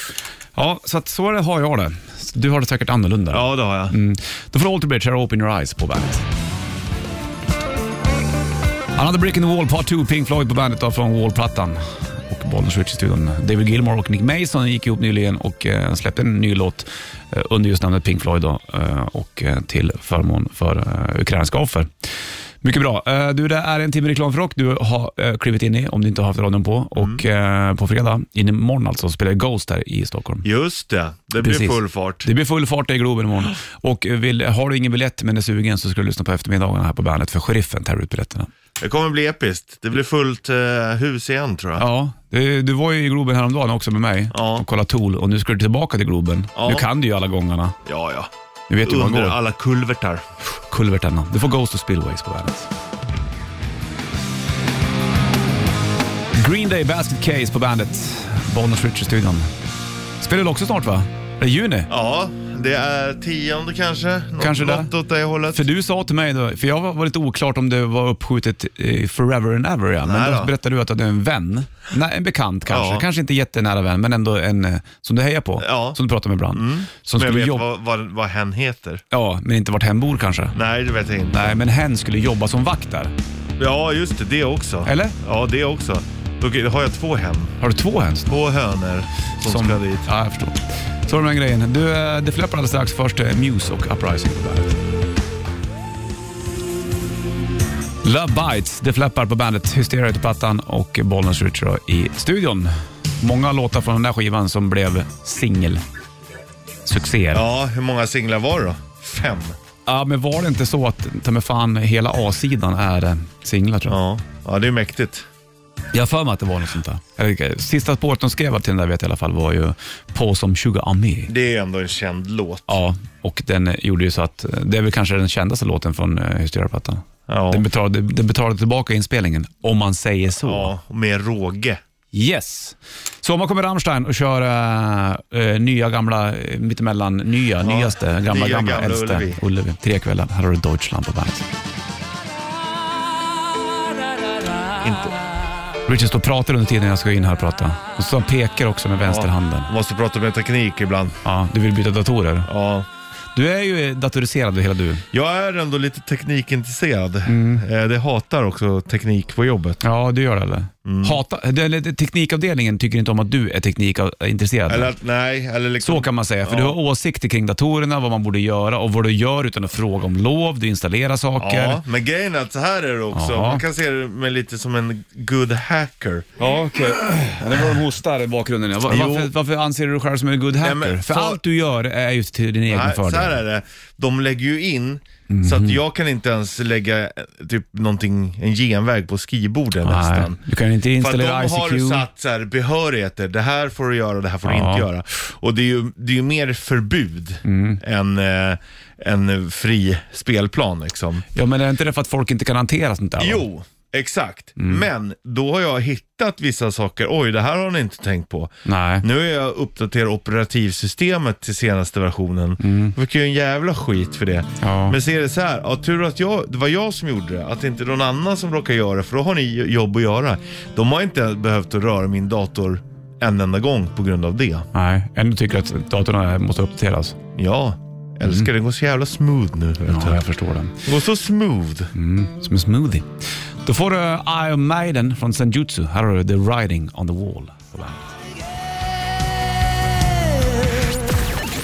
S2: Ja, så att så är det, har jag det. Du har det säkert annorlunda.
S3: Ja, det har jag.
S2: Mm. Då får Alter Bridge här Open Your Eyes på bandet. Another Brick in the Wall Part 2, Pink Floyd på bandet då, från Wall-plattan. Och Bollnäs Switch i studion. David Gilmore och Nick Mason gick ihop nyligen och eh, släppte en ny låt eh, under just namnet Pink Floyd då, eh, och eh, till förmån för eh, ukrainska offer. Mycket bra. Eh, Du, det är en timme reklam för rock du har eh, klivit in i, om du inte har haft radion på. Och eh, på fredag, in imorgon alltså, spelar Ghost här i Stockholm.
S3: Just det, det blir
S2: Precis.
S3: full fart.
S2: Det blir full fart i Globen imorgon. Och eh, vill, har du ingen biljett men är sugen så ska du lyssna på eftermiddagarna här på bandet för Sheriffen tar ut biljetterna.
S3: Det kommer bli episkt. Det blir fullt eh, hus igen tror jag.
S2: Ja, du, du var ju i Globen häromdagen också med mig
S3: Ja.
S2: och kollade Tool och nu ska du tillbaka till Globen.
S3: Ja.
S2: Nu kan du ju alla gångarna.
S3: Ja, ja.
S2: Nu vet du hur man
S3: Under
S2: går.
S3: alla kulvertar.
S2: Kulvertarna. Du får Ghost och Spillways på bandet. Green Day Basket Case på bandet. Bonus Richard-studion. Spelar du också snart va? Det är juni.
S3: Ja, det är tionde kanske. Nå-
S2: Kanske det.
S3: Något åt det hållet.
S2: För du sa till mig, då, för jag var- var lite oklart om det var uppskjutet eh, forever and ever, ja. men
S3: Nej
S2: då
S3: då.
S2: berättade du att du hade en vän, Nej, en bekant kanske,
S3: Ja.
S2: kanske inte jättenära vän, men ändå en eh, som du hejar på,
S3: Ja. Mm.
S2: som du pratar med ibland. Som
S3: Men jag
S2: skulle
S3: vet
S2: jobba,
S3: vad, Mm. vad, vad hen heter.
S2: ja, men inte vart hen bor kanske.
S3: Nej, det vet jag inte.
S2: Nej, men hen skulle jobba som vakt där.
S3: Ja, just det. Det också.
S2: Eller?
S3: Ja, det också. Okej, då har jag två hem.
S2: Har du två höns?
S3: Två hönor som, ska dit.
S2: Ja, jag förstår. Så var det den grejen. Du, eh, det fläpper alldeles strax. Först eh, Muse och Uprising på bandet. Love Bites, det fläppar på bandet. Hysteria heter plattan och Bollnäs Richard då i studion. Många låtar från den där skivan som blev singel. Succéer. Ja.
S3: Ja, hur många singlar var det då? Fem.
S2: men var det inte så att ta mig fan hela A-sidan är eh, singlar tror jag?
S3: Ja, ja det är mäktigt.
S2: Jag har för mig att det var något sånt där. Eller, eh, Sista spåret de skrev till den där vet jag i alla fall var ju På som Sugar Ami.
S3: Det är ändå en känd låt.
S2: Ja, och den gjorde ju så att, det är väl kanske den kändaste låten från eh, Hysteria-plattan.
S3: Ja.
S2: Den, betalade, den betalade tillbaka inspelningen, om man säger så.
S3: Ja, och med råge.
S2: Yes! Så om man kommer Rammstein och kör eh, eh, nya, gamla, eh, mittemellan, nya, nyaste, gamla,
S3: nya,
S2: gamla,
S3: gamla
S2: äldste.
S3: Ullevi.
S2: Ullevi. Tre kvällar. Här har du Deutschland på bandet.
S3: Inte.
S2: Richard står och pratar under tiden jag ska in här och prata. Och så han pekar också med vänsterhanden.
S3: Måste prata med teknik ibland.
S2: Ja, du vill byta datorer.
S3: Ja.
S2: Du är ju datoriserad hela du.
S3: Jag är ändå lite teknikintresserad.
S2: Mm.
S3: Eh, Det hatar också teknik på jobbet.
S2: Ja, du gör det eller?
S3: Mm.
S2: Hata, det- eller, teknikavdelningen tycker inte om att du är teknikintresserad.
S3: Eller att, nej, eller liksom...
S2: så kan man säga, för du har åsikter kring datorerna, vad man borde göra och vad du gör utan att fråga om lov, du installerar saker.
S3: Ja, men grejen är att så här är det också.
S2: Ja.
S3: Man kan se det med lite som en good hacker.
S2: Ja, okej. Det var de hostar i bakgrunden. Va-
S3: Jo.
S2: Varför, varför anser du dig själv som en good hacker?
S3: Nej, men
S2: för
S3: så-
S2: allt du gör är ju till din egen
S3: Nej,
S2: fördel. Mhm.
S3: så här är det. De lägger ju in så att jag kan inte ens lägga eh, typ någonting, en genväg på skrivbordet
S2: Nej,
S3: nästan.
S2: du kan inte
S3: För att de
S2: installera
S3: har
S2: ICQ.
S3: satt så här behörigheter, det här får du göra, det här får du
S2: Ja.
S3: inte göra. Och det är ju, det är ju mer förbud än eh, en fri spelplan liksom.
S2: Ja, men är inte det för att folk inte kan hantera sånt där? va?
S3: Jo, exakt. Men då har jag hittat vissa saker, oj det här har ni inte tänkt på.
S2: Nej.
S3: Nu är jag uppdaterat operativsystemet till senaste versionen. Jag fick ju en jävla skit för det.
S2: Ja.
S3: Men ser det så här, ja, tur att jag, det var jag som gjorde det, att det inte är någon annan som råkar göra det, för då har ni ju jobb att göra. De har inte behövt att röra min dator en enda gång på grund av det.
S2: Nej, ändå tycker jag att datorn måste uppdateras.
S3: Ja, älskar det. går så jävla smooth nu. Vet
S2: Mm. Ja,
S3: du.
S2: jag förstår det.
S3: Det går så smooth.
S2: Mm, som en smoothie. Då får du Iron Maiden från Senjutsu. Här har du The Riding on the Wall. på bandet.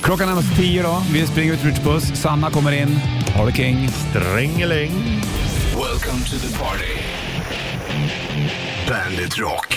S2: Klockan närmar sig tio då. Vi springer ut till Rich Puss. Sanna kommer in. Harley King.
S3: Drängeläng.
S1: Welcome to the party. Bandit Rock.